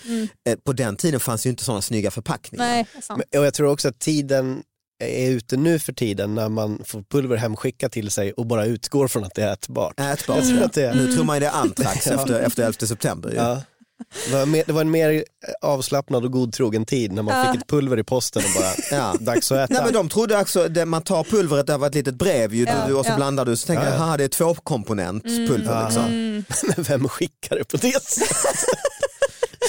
[SPEAKER 2] Eh, På den tiden fanns ju inte sådana snygga förpackningar.
[SPEAKER 3] Nej, det är sant.
[SPEAKER 4] Men- Och jag tror också att tiden är ute nu för tiden när man får pulver hemskickat till sig och bara utgår från att det är ätbart.
[SPEAKER 2] Ätbart.
[SPEAKER 4] Jag
[SPEAKER 3] Mm.
[SPEAKER 4] tror att det
[SPEAKER 2] Nu tror man ju det är
[SPEAKER 3] <laughs>
[SPEAKER 2] antrax efter, efter 11 september. Ju.
[SPEAKER 4] Ja. Det var mer- Det var en mer eh, avslappnad och godtrogen tid när man fick ett pulver i posten och bara, "Ah,
[SPEAKER 2] Ja.
[SPEAKER 4] dags att äta.
[SPEAKER 2] Nej men de trodde också, det- man tar pulvret över ett litet brev ju,
[SPEAKER 3] Ja,
[SPEAKER 2] du- och så
[SPEAKER 3] ja.
[SPEAKER 2] blandar du så tänker
[SPEAKER 4] Ja,
[SPEAKER 2] jag,
[SPEAKER 4] ja.
[SPEAKER 2] aha det är tvåkomponentspulver liksom.
[SPEAKER 3] Mm.
[SPEAKER 4] Men Mm. <laughs> vem skickar det på det sättet?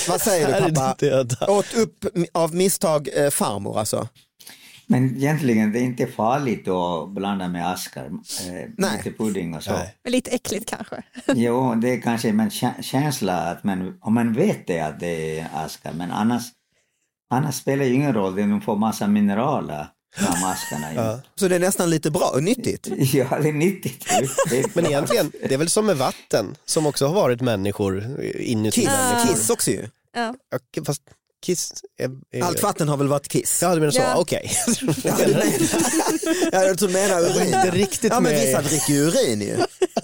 [SPEAKER 2] Vad säger
[SPEAKER 4] Här
[SPEAKER 2] du
[SPEAKER 4] är
[SPEAKER 2] pappa?
[SPEAKER 4] det döda.
[SPEAKER 2] Åt upp av misstag eh, farmor alltså?
[SPEAKER 5] Men egentligen det är inte farligt att blanda med askar, eh,
[SPEAKER 2] Nej.
[SPEAKER 5] lite pudding och så.
[SPEAKER 4] Nej.
[SPEAKER 3] Men lite äckligt kanske.
[SPEAKER 5] <laughs> Jo, det är kanske men kä- känsla att man, om man vet det att det är aska, men annars, annars spelar det ju ingen roll, de får massa mineraler från askarna. ju.
[SPEAKER 2] Så det är nästan lite bra och nyttigt.
[SPEAKER 5] <laughs> ja, det är nyttigt. ju.
[SPEAKER 2] <laughs>
[SPEAKER 5] Det är
[SPEAKER 4] Men
[SPEAKER 5] bra.
[SPEAKER 4] egentligen, det är väl som med vatten som också har varit människor inuti
[SPEAKER 2] Kiss,
[SPEAKER 4] människor.
[SPEAKER 2] kiss också ju.
[SPEAKER 3] Ja.
[SPEAKER 4] Ja, k- Fast kiss är... är
[SPEAKER 2] Allt vatten har väl varit kiss?
[SPEAKER 4] Ja, du menar så,
[SPEAKER 3] Ja.
[SPEAKER 4] okej. <laughs>
[SPEAKER 2] Ja, du menar, ja, jag tror du menar urin.
[SPEAKER 4] Inte riktigt
[SPEAKER 2] ja, men
[SPEAKER 4] med-
[SPEAKER 2] vissa dricker ju urin ju.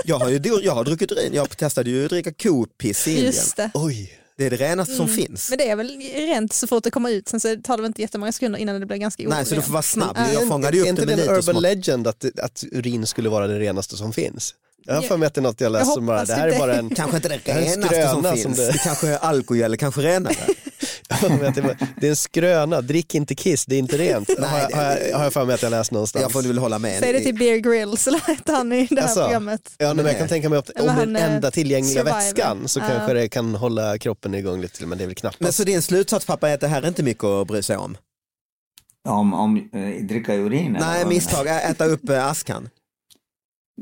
[SPEAKER 2] Jag har, ju, jag har druckit urin, jag testade ju att dricka kopiss i Indien.
[SPEAKER 3] Just det. Mm.
[SPEAKER 4] Oj.
[SPEAKER 2] Det är det renaste som finns.
[SPEAKER 3] Men det är väl rent så fort det kommer ut, sen så tar det väl inte jättemånga sekunder innan det blir ganska
[SPEAKER 2] Nej, så du får
[SPEAKER 3] orent.
[SPEAKER 2] vara snabb.
[SPEAKER 3] Ja.
[SPEAKER 2] Jag fångade ju
[SPEAKER 4] är
[SPEAKER 2] upp
[SPEAKER 4] inte
[SPEAKER 2] det
[SPEAKER 4] det
[SPEAKER 2] med
[SPEAKER 4] en
[SPEAKER 2] lite
[SPEAKER 4] urban
[SPEAKER 2] smak.
[SPEAKER 4] legend att, att urin skulle vara det renaste som finns? Jag har för mig att det är något jag läst
[SPEAKER 3] Jag
[SPEAKER 4] som bara,
[SPEAKER 3] hoppas
[SPEAKER 4] det här är
[SPEAKER 3] inte.
[SPEAKER 4] bara en...
[SPEAKER 2] Kanske inte det
[SPEAKER 4] är en
[SPEAKER 2] renaste som
[SPEAKER 4] skröna
[SPEAKER 2] finns.
[SPEAKER 4] som
[SPEAKER 2] det...
[SPEAKER 4] det-
[SPEAKER 2] kanske är alkogel, kanske
[SPEAKER 4] <laughs>
[SPEAKER 2] renare.
[SPEAKER 4] <laughs> jag har för mig att det var- det är en skröna, drick inte kiss, det är inte
[SPEAKER 2] <laughs>
[SPEAKER 4] rent. har, jag- har, jag, har jag för mig att jag läst någonstans.
[SPEAKER 2] Jag får väl hålla med.
[SPEAKER 3] Säg det till Bear Grylls eller vad hette han i det här
[SPEAKER 4] Alltså,
[SPEAKER 3] programmet?
[SPEAKER 4] Ja, men
[SPEAKER 2] Nej.
[SPEAKER 4] jag kan tänka mig att
[SPEAKER 3] Eller
[SPEAKER 4] om det är den
[SPEAKER 3] han, eh,
[SPEAKER 4] enda tillgängliga
[SPEAKER 3] survivor.
[SPEAKER 4] vätskan så
[SPEAKER 3] Ja.
[SPEAKER 4] kanske det kan hålla kroppen igång lite till, men det är väl knappast.
[SPEAKER 2] Men så din slutsats pappa är att det här är inte mycket att bry sig om?
[SPEAKER 5] Om, om eh, dricka urin? eller
[SPEAKER 2] Nej,
[SPEAKER 5] vad?
[SPEAKER 2] misstag, Ä- äta upp eh, askan.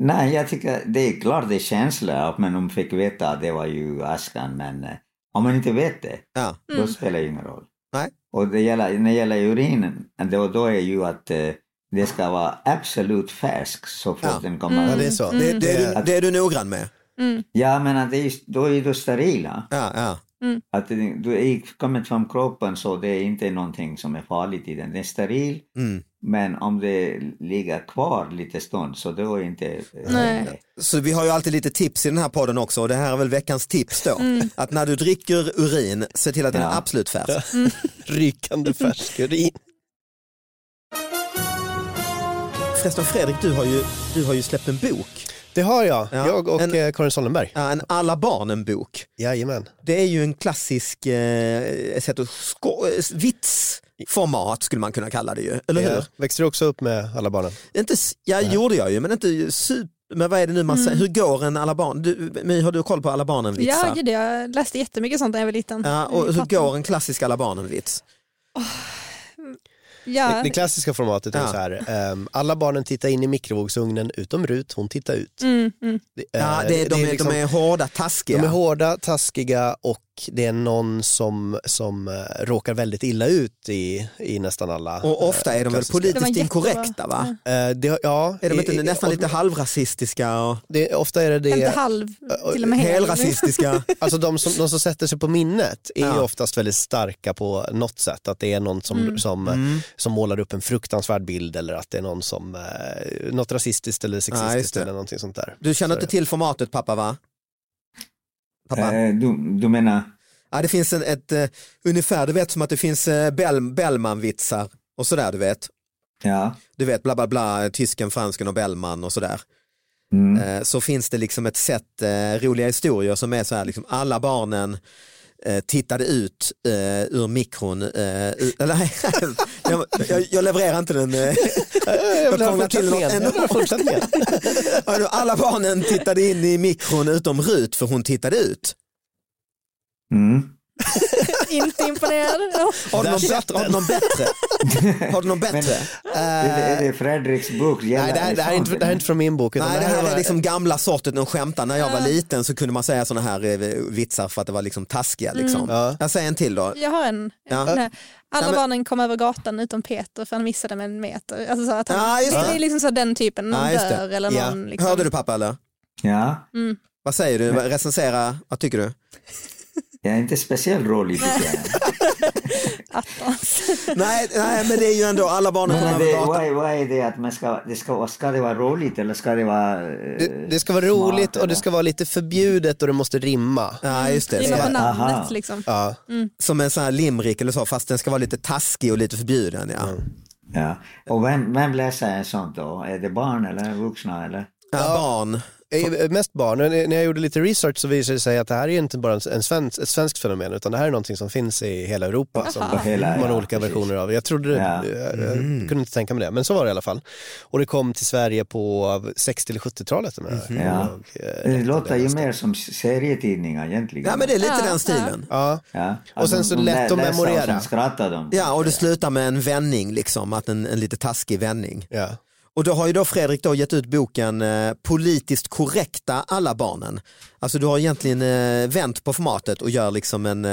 [SPEAKER 5] Nej, jag tycker det är klart det är känsla, men de fick veta att det var ju askan, men eh, om man inte vet det,
[SPEAKER 2] Ja.
[SPEAKER 5] då spelar det ingen roll.
[SPEAKER 2] Nej.
[SPEAKER 5] Och det gäller, när det gäller urinen, då, då är ju att eh, det ska vara absolut färsk så fort
[SPEAKER 2] Ja.
[SPEAKER 5] den kommer
[SPEAKER 4] ja,
[SPEAKER 5] ut.
[SPEAKER 4] det är så.
[SPEAKER 2] Det, det, är du,
[SPEAKER 5] Mm.
[SPEAKER 2] det är du noggrann med?
[SPEAKER 5] Ja, men att det är, då är du sterila.
[SPEAKER 2] Ja, ja.
[SPEAKER 5] Att det, du är kommit från kroppen så det är inte någonting som är farligt i den. Den är steril,
[SPEAKER 2] Mm.
[SPEAKER 5] men om det ligger kvar lite stund så då är inte... eh,
[SPEAKER 3] Nej.
[SPEAKER 2] Så vi har ju alltid lite tips i den här podden också och det här är väl veckans tips då. Att när du dricker urin, se till att den är
[SPEAKER 5] Ja.
[SPEAKER 2] absolut färsk.
[SPEAKER 3] Mm.
[SPEAKER 4] Rykande färsk urin.
[SPEAKER 2] Förresten Fredrik, du har ju, du har ju släppt en bok.
[SPEAKER 4] Det har jag,
[SPEAKER 2] Ja,
[SPEAKER 4] jag och
[SPEAKER 2] en-
[SPEAKER 4] eh, Karin Sollenberg.
[SPEAKER 2] Ja, En Alla barnen-bok.
[SPEAKER 4] Jajamän.
[SPEAKER 2] Det är ju en klassisk eh, sätt att sko- eh, vitsformat skulle man kunna kalla det ju, eller hur?
[SPEAKER 4] Ja. Växte du också upp med alla barnen?
[SPEAKER 2] Inte, s- ja, gjorde jag ju, men inte super... Men vad är det nu man säger, hur går en Alla barn? Du, My, har du koll på Alla barnen-vitsar?
[SPEAKER 3] Ja, gud, jag läste jättemycket sånt när jag var liten.
[SPEAKER 2] Ja, och hur
[SPEAKER 3] Pappa-
[SPEAKER 2] går en klassisk Alla barnen-vits?
[SPEAKER 4] Det,
[SPEAKER 3] Ja,
[SPEAKER 4] det klassiska formatet är
[SPEAKER 2] Ja.
[SPEAKER 4] så här, ehm, alla barnen tittar in i mikrovågsugnen utom Rut, hon tittar ut.
[SPEAKER 3] mm, mm.
[SPEAKER 4] Det- eh,
[SPEAKER 2] Ja, det, de,
[SPEAKER 4] det
[SPEAKER 2] är,
[SPEAKER 4] liksom-
[SPEAKER 2] de är hårda, taskiga.
[SPEAKER 4] de är hårda, taskiga och det är någon som, som eh, råkar väldigt illa ut i, i nästan alla.
[SPEAKER 2] Och ofta är de väl
[SPEAKER 4] klassiska.
[SPEAKER 3] De
[SPEAKER 2] politiskt
[SPEAKER 3] är jättebra.
[SPEAKER 2] inkorrekta va?
[SPEAKER 4] Eh, det, ja,
[SPEAKER 2] Är de
[SPEAKER 4] i-
[SPEAKER 2] inte
[SPEAKER 4] i-
[SPEAKER 2] nästan
[SPEAKER 4] och-
[SPEAKER 2] lite halvrasistiska och
[SPEAKER 4] det, Ofta är det
[SPEAKER 3] Inte <laughs>
[SPEAKER 4] det.
[SPEAKER 3] halv, till och med hel.
[SPEAKER 2] helrasistiska?
[SPEAKER 4] Alltså de som, de som sätter sig på minnet är ju
[SPEAKER 2] Ja.
[SPEAKER 4] oftast väldigt starka på något sätt. Att det är någon som,
[SPEAKER 3] Mm.
[SPEAKER 4] som, eh,
[SPEAKER 2] Mm.
[SPEAKER 4] som målar upp en fruktansvärd bild eller att det är någon som, eh, något rasistiskt eller
[SPEAKER 2] just
[SPEAKER 4] sexistiskt
[SPEAKER 2] det.
[SPEAKER 4] eller någonting sånt där.
[SPEAKER 2] Du känner
[SPEAKER 4] Så-
[SPEAKER 2] inte till formatet pappa va? Pappa?
[SPEAKER 5] Eh, Du, du menar,
[SPEAKER 2] Ja, det finns en, ett eh, ungefär, du vet som att det finns eh, Bell, Bellman-vitsar och sådär du vet.
[SPEAKER 5] ja.
[SPEAKER 2] Du vet bla bla bla, tysken, fransken och Bellman och sådär.
[SPEAKER 5] Mm.
[SPEAKER 2] Eh, så finns det liksom ett sätt eh, roliga historier som är så här, liksom, alla barnen eh, tittade ut eh, ur mikron. Eh, ur, eller, nej, <laughs> jag, jag, jag levererar inte den. Eh,
[SPEAKER 4] Jag vill
[SPEAKER 2] kommer
[SPEAKER 4] ha
[SPEAKER 2] till något
[SPEAKER 4] fortsättningen.
[SPEAKER 2] ännu-
[SPEAKER 4] Jag vill ha fortsättningen.
[SPEAKER 2] alla barnen tittade in i mikron utom Rut för hon tittade ut.
[SPEAKER 5] Mm.
[SPEAKER 3] <laughs> Inte imponerad.
[SPEAKER 2] <laughs>
[SPEAKER 3] Ja.
[SPEAKER 2] Har du
[SPEAKER 4] Där
[SPEAKER 2] någon
[SPEAKER 4] satt
[SPEAKER 2] bättre? Har du någon bättre? Har du någon bättre?
[SPEAKER 5] Är, det, är det Fredriks bok?
[SPEAKER 4] Nej, det här, det, här är inte, det här är inte från min bok. utan
[SPEAKER 2] Nej, det här är
[SPEAKER 4] var-
[SPEAKER 2] liksom gamla sorten de skämtar. När jag var liten så kunde man säga sådana här eh, vitsar för att det var liksom taskiga. Liksom.
[SPEAKER 4] Ja.
[SPEAKER 2] Jag säger en till då.
[SPEAKER 3] Jag har en.
[SPEAKER 2] Ja.
[SPEAKER 3] Den här. Alla
[SPEAKER 2] Ja, men-
[SPEAKER 3] barnen kom över gatan utom Peter för han missade med en meter. Alltså så att han,
[SPEAKER 2] Ja, just
[SPEAKER 3] det,
[SPEAKER 2] det.
[SPEAKER 3] det är liksom så den typen, någon
[SPEAKER 2] Ja, just det.
[SPEAKER 3] dör eller
[SPEAKER 4] Ja.
[SPEAKER 3] någon... Liksom.
[SPEAKER 2] Hörde du pappa eller?
[SPEAKER 5] Ja,
[SPEAKER 2] Vad säger du? Recensera, vad tycker du?
[SPEAKER 5] jag är inte speciellt rolig tycker jag.
[SPEAKER 2] <laughs>
[SPEAKER 3] Attans.
[SPEAKER 2] nej, nej, men det är ju ändå alla barn <laughs> kommer
[SPEAKER 5] Men det,
[SPEAKER 2] över gatan.
[SPEAKER 5] vad, är, vad är det att man ska, det ska, ska det vara roligt eller ska det vara... eh,
[SPEAKER 4] Det, det ska vara roligt
[SPEAKER 5] Smart,
[SPEAKER 4] och det ska vara lite förbjudet och det måste rimma.
[SPEAKER 2] Ja, just det.
[SPEAKER 3] Rimma på
[SPEAKER 2] Så,
[SPEAKER 5] Aha.
[SPEAKER 3] namnet liksom.
[SPEAKER 4] Ja.
[SPEAKER 2] som en sån här limrik eller så, fast den ska vara lite taskig och lite förbjuden. Ja.
[SPEAKER 5] Mm. Ja. Och vem, vem läser en sån då? Är det barn eller vuxna eller?
[SPEAKER 2] Ja, barn.
[SPEAKER 4] Eh, Mest barn. När när jag gjorde lite research så visade det sig att det här är inte bara en svensk, ett svenskt fenomen utan det här är någonting som finns i hela Europa som
[SPEAKER 5] Och hela,
[SPEAKER 4] man har
[SPEAKER 5] ja,
[SPEAKER 4] olika
[SPEAKER 5] precis.
[SPEAKER 4] versioner av. Jag trodde det,
[SPEAKER 5] Ja.
[SPEAKER 4] jag, jag
[SPEAKER 2] Mhm.
[SPEAKER 4] kunde inte tänka mig det, men så var det i alla fall. Och det kom till Sverige på 60 eller 70-talet. om jag-
[SPEAKER 5] Mhm. Ja.
[SPEAKER 4] jag, eh,
[SPEAKER 5] Det låter ju mer som serietidningar egentligen.
[SPEAKER 2] Ja, men det är lite
[SPEAKER 3] Ja,
[SPEAKER 2] den stilen.
[SPEAKER 4] Ja.
[SPEAKER 5] Ja,
[SPEAKER 4] Och
[SPEAKER 5] att
[SPEAKER 4] sen
[SPEAKER 5] de-
[SPEAKER 4] så
[SPEAKER 5] de
[SPEAKER 4] lätt
[SPEAKER 5] lä-
[SPEAKER 4] att
[SPEAKER 5] läser och
[SPEAKER 4] memorera.
[SPEAKER 5] sen skrattar de.
[SPEAKER 2] Ja, och det slutar med en vändning, liksom, att en, en lite taskig vändning.
[SPEAKER 4] Ja.
[SPEAKER 2] Och då har ju då Fredrik då gett ut boken eh, Politiskt korrekta alla barnen. Alltså du har egentligen eh, vänt på formatet och gör liksom en, eh,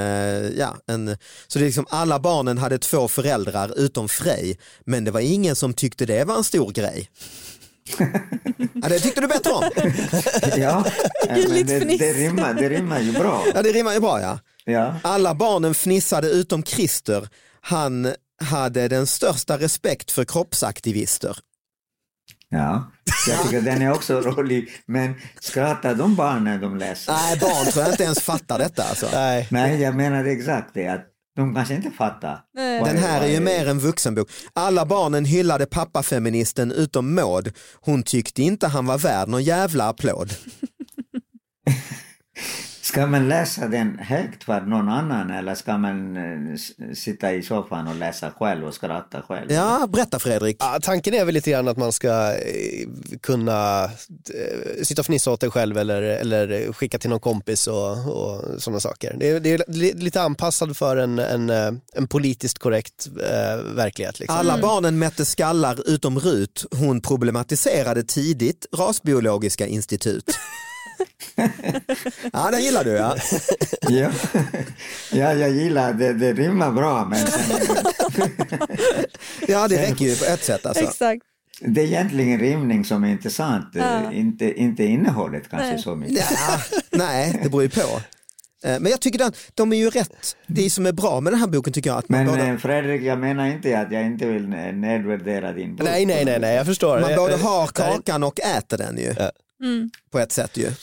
[SPEAKER 2] ja, en, så det är liksom alla barnen hade två föräldrar utom Frej, men det var ingen som tyckte det var en stor grej. ja, det tyckte du bättre om.
[SPEAKER 5] <laughs>
[SPEAKER 4] <laughs>
[SPEAKER 5] ja. men det,
[SPEAKER 3] Gulligt fniss.
[SPEAKER 5] det, rimmar, det rimmar ju bra.
[SPEAKER 2] Ja, det rimmar ju bra ja.
[SPEAKER 4] <laughs>
[SPEAKER 5] Ja.
[SPEAKER 2] Alla barnen fnissade utom Christer, han hade den största respekt för kroppsaktivister.
[SPEAKER 5] ja. Jag tycker den är också rolig. Men skrattar de barnen de läser?
[SPEAKER 2] Nej, barn tror jag inte ens fattar detta alltså.
[SPEAKER 4] Nej.
[SPEAKER 5] Nej, jag menar exakt det. Att de kanske inte fattar.
[SPEAKER 3] Nej.
[SPEAKER 5] Vad
[SPEAKER 2] Den här är ju mer en vuxenbok. Alla barnen hyllade pappafeministen utom Maud. Hon tyckte inte han var värd någon jävla applåd.
[SPEAKER 5] Ska man läsa den högt för någon annan eller ska man eh, s- sitta i soffan och läsa själv och skratta själv?
[SPEAKER 2] Ja, berätta Fredrik.
[SPEAKER 4] Ja, tanken är väl lite grann att man ska eh, kunna eh, sitta och fnissa åt dig själv eller, eller skicka till någon kompis och, och sådana saker. Det är, det är li- lite anpassad för en, en, eh, en politiskt korrekt eh, verklighet. Liksom.
[SPEAKER 2] Alla
[SPEAKER 5] Mm.
[SPEAKER 2] barnen mätte skallar utom Rut. Hon problematiserade tidigt rasbiologiska
[SPEAKER 5] <laughs>
[SPEAKER 2] institut. Ja, den gillar du ja.
[SPEAKER 5] ja. <laughs> ja jag gillar det. Det rimmar bra men
[SPEAKER 2] Ja, det räcker ju på ett sätt alltså.
[SPEAKER 3] Exakt.
[SPEAKER 5] det är egentligen rimning som är intressant. eh, Inte, inte innehållet kanske så mycket.
[SPEAKER 2] Ja, nej, det beror ju på. Eh, Men jag tycker den, de är ju rätt. Det som är bra med den här boken tycker jag att man
[SPEAKER 5] Men
[SPEAKER 2] både,
[SPEAKER 5] eh, Fredrik, jag menar inte att jag inte vill eh, nedvärdera din bok.
[SPEAKER 4] Nej, nej, nej, nej, jag förstår.
[SPEAKER 2] man både
[SPEAKER 4] Eh,
[SPEAKER 2] har
[SPEAKER 4] det här-
[SPEAKER 2] kakan och äter den ju.
[SPEAKER 3] Mm.
[SPEAKER 2] På ett sätt ju.
[SPEAKER 4] eh,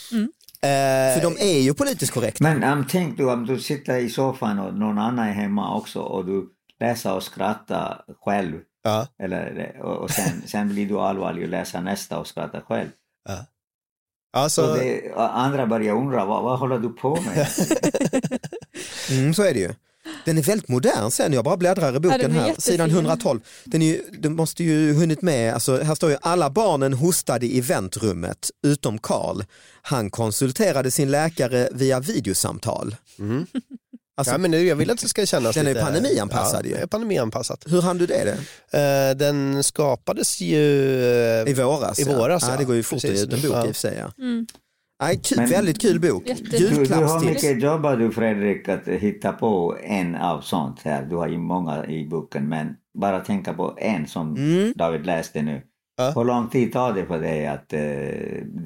[SPEAKER 2] För de är ju politiskt korrekta.
[SPEAKER 5] Men um, tänk du om du sitter i soffan och någon annan är hemma också och du läser och skrattar själv.
[SPEAKER 4] ja,
[SPEAKER 5] Eller, och och sen, sen blir du allvarlig och läser nästa och skrattar själv.
[SPEAKER 4] alltså,
[SPEAKER 5] Så det, och andra börjar undra, vad, vad håller du på med?
[SPEAKER 2] Mm, så är det ju. Den är väldigt modern sen, jag bara bläddrar i
[SPEAKER 3] Ja,
[SPEAKER 2] boken
[SPEAKER 3] den är
[SPEAKER 2] här,
[SPEAKER 3] jättefin.
[SPEAKER 2] sidan 112. Den, är ju, den måste ju hunnit med, alltså, här står ju alla barnen hostade i väntrummet utom Karl. Han konsulterade sin läkare via videosamtal.
[SPEAKER 4] mm.
[SPEAKER 2] <laughs>
[SPEAKER 4] ja, men nu, jag vill att det ska kännas
[SPEAKER 2] Alltså- Den är
[SPEAKER 4] lite...
[SPEAKER 2] pandemianpassad ju.
[SPEAKER 4] ja, ju. pandemianpassat.
[SPEAKER 2] Hur hann du det? det?
[SPEAKER 4] Eh, den skapades ju... eh,
[SPEAKER 2] I våras?
[SPEAKER 4] I våras,
[SPEAKER 2] ja.
[SPEAKER 4] ja.
[SPEAKER 2] Det går ju fort
[SPEAKER 4] Precis.
[SPEAKER 2] att ge ut en bok
[SPEAKER 4] Ja.
[SPEAKER 3] Mm.
[SPEAKER 2] i och för sig. Ja. Ja, kul,
[SPEAKER 5] Men-
[SPEAKER 2] väldigt kul bok.
[SPEAKER 3] Jätte-
[SPEAKER 5] Du, du har
[SPEAKER 2] Julklappstips.
[SPEAKER 5] mycket jobb du Fredrik att hitta på en av sånt här. Du har ju många i boken men bara tänka på en som
[SPEAKER 2] Mm.
[SPEAKER 5] David läste nu.
[SPEAKER 4] Ja.
[SPEAKER 5] Hur lång tid tar det för dig att eh,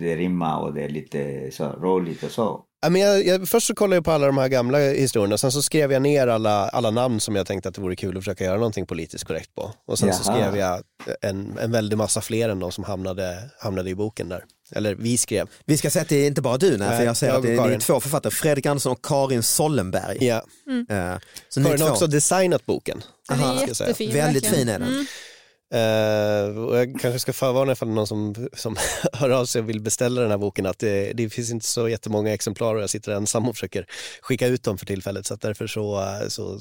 [SPEAKER 5] det rimmar och det är lite så roligt och så?
[SPEAKER 4] Ja, men jag, jag, först så kollade jag på alla de här gamla historierna, sen så skrev jag ner alla, alla namn som jag tänkte att det vore kul att försöka göra någonting politiskt korrekt på. Och sen så
[SPEAKER 5] Jaha.
[SPEAKER 4] skrev jag en, en väldig massa fler än de som hamnade, hamnade i boken där. Eller vi skrev.
[SPEAKER 2] Vi ska säga att det är inte bara du, nej, för
[SPEAKER 4] Nej,
[SPEAKER 2] jag säger
[SPEAKER 4] jag
[SPEAKER 2] att det
[SPEAKER 4] och
[SPEAKER 2] är ni
[SPEAKER 4] Karin.
[SPEAKER 2] två författare, Fredrik Andersson och Karin Sollenberg.
[SPEAKER 4] Ja.
[SPEAKER 2] Eh, Så ni
[SPEAKER 4] Karin har
[SPEAKER 2] två,
[SPEAKER 4] också designat boken.
[SPEAKER 3] Den
[SPEAKER 4] Aha.
[SPEAKER 3] är
[SPEAKER 4] Ska jag säga.
[SPEAKER 3] jättefin.
[SPEAKER 2] väldigt
[SPEAKER 3] verkligen.
[SPEAKER 2] fin är den.
[SPEAKER 4] Eh, och jag kanske ska förvarna ifall det är någon som, som <laughs> hör av sig och vill beställa den här boken att det, det finns inte så jättemånga exemplar och jag sitter ensam och försöker skicka ut dem för tillfället så att därför så, eh, så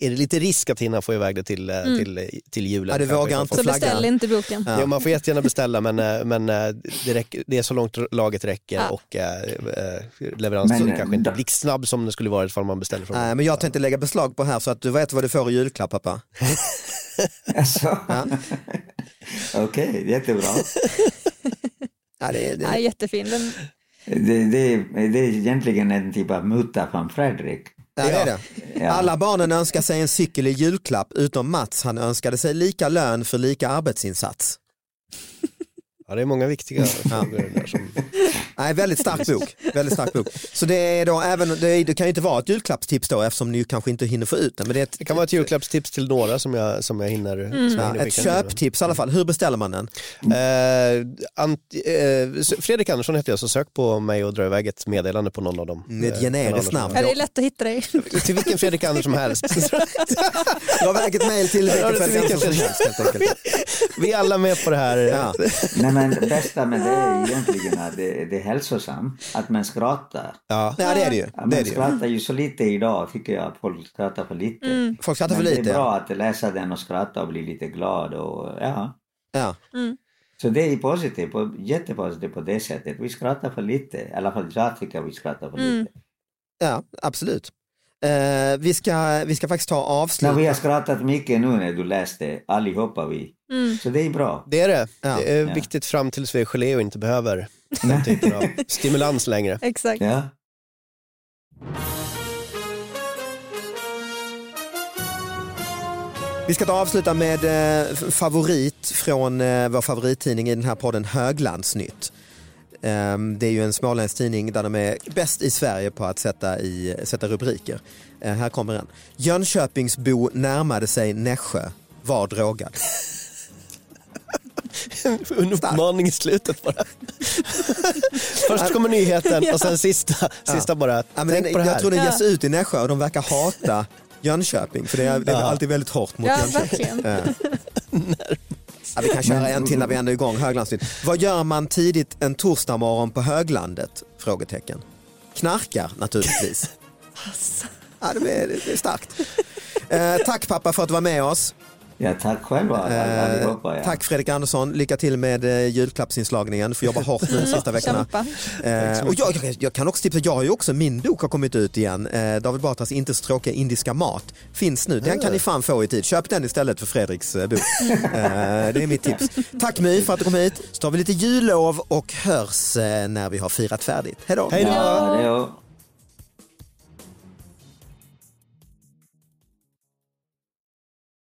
[SPEAKER 4] är det lite risk att hinna få iväg det till, eh, till, till julen.
[SPEAKER 2] Ja, du
[SPEAKER 4] Kanske
[SPEAKER 2] vågar
[SPEAKER 4] ifall
[SPEAKER 2] inte
[SPEAKER 4] folk-
[SPEAKER 3] Så
[SPEAKER 2] Flagga.
[SPEAKER 3] beställ inte boken.
[SPEAKER 4] Ja. man får jättegärna beställa men, eh, men eh, det, räcker, det är så långt laget räcker
[SPEAKER 3] Ja.
[SPEAKER 4] och eh, eh, leveransen
[SPEAKER 5] Men, eh,
[SPEAKER 4] kanske inte
[SPEAKER 5] då-
[SPEAKER 4] blir snabb som det skulle vara ifall man beställer från
[SPEAKER 2] Nej, Eh, men jag tänkte lägga beslag på här så att du vet vad du får i julklapp pappa.
[SPEAKER 5] Alltså. Okej, jättebra.
[SPEAKER 2] Ja, det, det,
[SPEAKER 3] Ja, jättefin. Den,
[SPEAKER 5] Det, det, det är egentligen en typ av muta från Fredrik.
[SPEAKER 2] ja, det är det.
[SPEAKER 5] Ja.
[SPEAKER 2] Alla barnen önskar sig en cykel i julklapp utom Mats, han önskade sig lika lön för lika arbetsinsats.
[SPEAKER 4] Ja, det är
[SPEAKER 2] <laughs>
[SPEAKER 4] många viktiga frågor där som...
[SPEAKER 2] Nej, väldigt stark bok. Väldigt stark bok. Så det, är då, även, det, är- det kan ju inte vara ett julklappstips då eftersom ni ju kanske inte hinner få ut den. Men det är ett,
[SPEAKER 4] Det kan vara ett Mm. julklappstips till några som jag, som jag hinner, som jag
[SPEAKER 2] Typ- Mm. ja,
[SPEAKER 4] hinner
[SPEAKER 2] ett
[SPEAKER 4] skicka.
[SPEAKER 2] köptips i alla fall. Hur beställer man den?
[SPEAKER 4] Eh, ant, eh, s- Fredrik Andersson heter jag, så sök på mig och dra iväg ett meddelande på någon av dem.
[SPEAKER 2] Med
[SPEAKER 4] eh,
[SPEAKER 2] generiskt
[SPEAKER 4] kanaler som-
[SPEAKER 3] ja,
[SPEAKER 2] namn.
[SPEAKER 3] det är lätt att hitta dig. <laughs>
[SPEAKER 4] Till vilken Fredrik Andersson som
[SPEAKER 2] <laughs>
[SPEAKER 4] helst.
[SPEAKER 2] Dra iväg ett mejl till
[SPEAKER 4] Ja,
[SPEAKER 2] vilken
[SPEAKER 4] det är
[SPEAKER 2] Fredrik som
[SPEAKER 4] vilken-
[SPEAKER 2] helst helt enkelt.
[SPEAKER 4] Vi är alla med på det här.
[SPEAKER 2] Ja.
[SPEAKER 5] Nej men det bästa med det är egentligen att det, det är hälsosamt, att man skrattar.
[SPEAKER 4] Ja.
[SPEAKER 2] ja, det är det ju.
[SPEAKER 5] Ja,
[SPEAKER 2] Det är
[SPEAKER 5] Man
[SPEAKER 2] det ju.
[SPEAKER 5] skrattar ju så lite idag tycker jag, att folk skrattar för lite.
[SPEAKER 2] Folk skrattar för
[SPEAKER 5] Men det
[SPEAKER 2] lite.
[SPEAKER 5] är
[SPEAKER 2] ja.
[SPEAKER 5] bra att läsa den och skratta och bli lite glad och ja.
[SPEAKER 2] Ja.
[SPEAKER 3] Mm.
[SPEAKER 5] Så det är positivt, och jättepositivt på det sättet. Vi skrattar för lite, i alla fall jag tycker vi skrattar för lite.
[SPEAKER 2] Ja, absolut. Eh, vi, ska, vi ska faktiskt ta avslut.
[SPEAKER 5] Men vi har skrattat mycket nu när du läste, allihopa vi.
[SPEAKER 3] Mm.
[SPEAKER 5] Så det är bra.
[SPEAKER 4] Det är det.
[SPEAKER 2] Ja.
[SPEAKER 4] Det är
[SPEAKER 5] Ja.
[SPEAKER 4] viktigt fram tills vi är gelé och inte behöver den typen av
[SPEAKER 2] <laughs>
[SPEAKER 4] stimulans längre.
[SPEAKER 3] Exakt.
[SPEAKER 2] Mm.
[SPEAKER 5] Ja.
[SPEAKER 2] Vi ska ta avsluta med eh, f- favorit från eh, vår favorittidning i den här podden Höglandsnytt. Ehm, det är ju en småländsk tidning där de är bäst i Sverige på att sätta, i, sätta rubriker. Eh, här kommer den. Jönköpingsbo närmade sig Nässjö, var drogad.
[SPEAKER 4] En uppmaning i
[SPEAKER 2] <laughs>
[SPEAKER 4] slutet bara. Först kommer nyheten och sen sista, sista bara,
[SPEAKER 2] Ja, men
[SPEAKER 4] tänk
[SPEAKER 2] den,
[SPEAKER 4] på det här.
[SPEAKER 2] jag tror den ges
[SPEAKER 3] Ja.
[SPEAKER 2] ut i Nässjö och de verkar
[SPEAKER 3] <laughs>
[SPEAKER 2] hata Jönköping för det är, det är alltid väldigt hårt mot
[SPEAKER 3] Ja,
[SPEAKER 2] Jönköping. <laughs>
[SPEAKER 3] verkligen.
[SPEAKER 2] Ja, vi kan köra en till när vi ändå är igång Höglandsnytt. Vad gör man tidigt en torsdagmorgon på höglandet? Frågetecken. Knarkar
[SPEAKER 3] <laughs>
[SPEAKER 2] naturligtvis. Ja, det är, det är starkt. Eh, tack pappa för att du var med oss.
[SPEAKER 5] ja, tack själva allihopa. Ja.
[SPEAKER 2] Eh, Tack Fredrik Andersson. Lycka till med eh, julklappsinslagningen. Du får jobba hårt nu de sista veckorna.
[SPEAKER 3] Kämpa.
[SPEAKER 2] Eh, och jag, jag, jag kan också tipsa, jag har ju också, min bok har kommit ut igen. Eh, David Batras Inte så tråkiga indiska mat finns nu. Den kan ni fan få i tid. Köp den istället för Fredriks eh, bok. eh, det är mitt tips. Tack My för att du kom hit. Så tar vi lite jullov och hörs eh, när vi har firat färdigt. Hej då!
[SPEAKER 5] Ja, det är-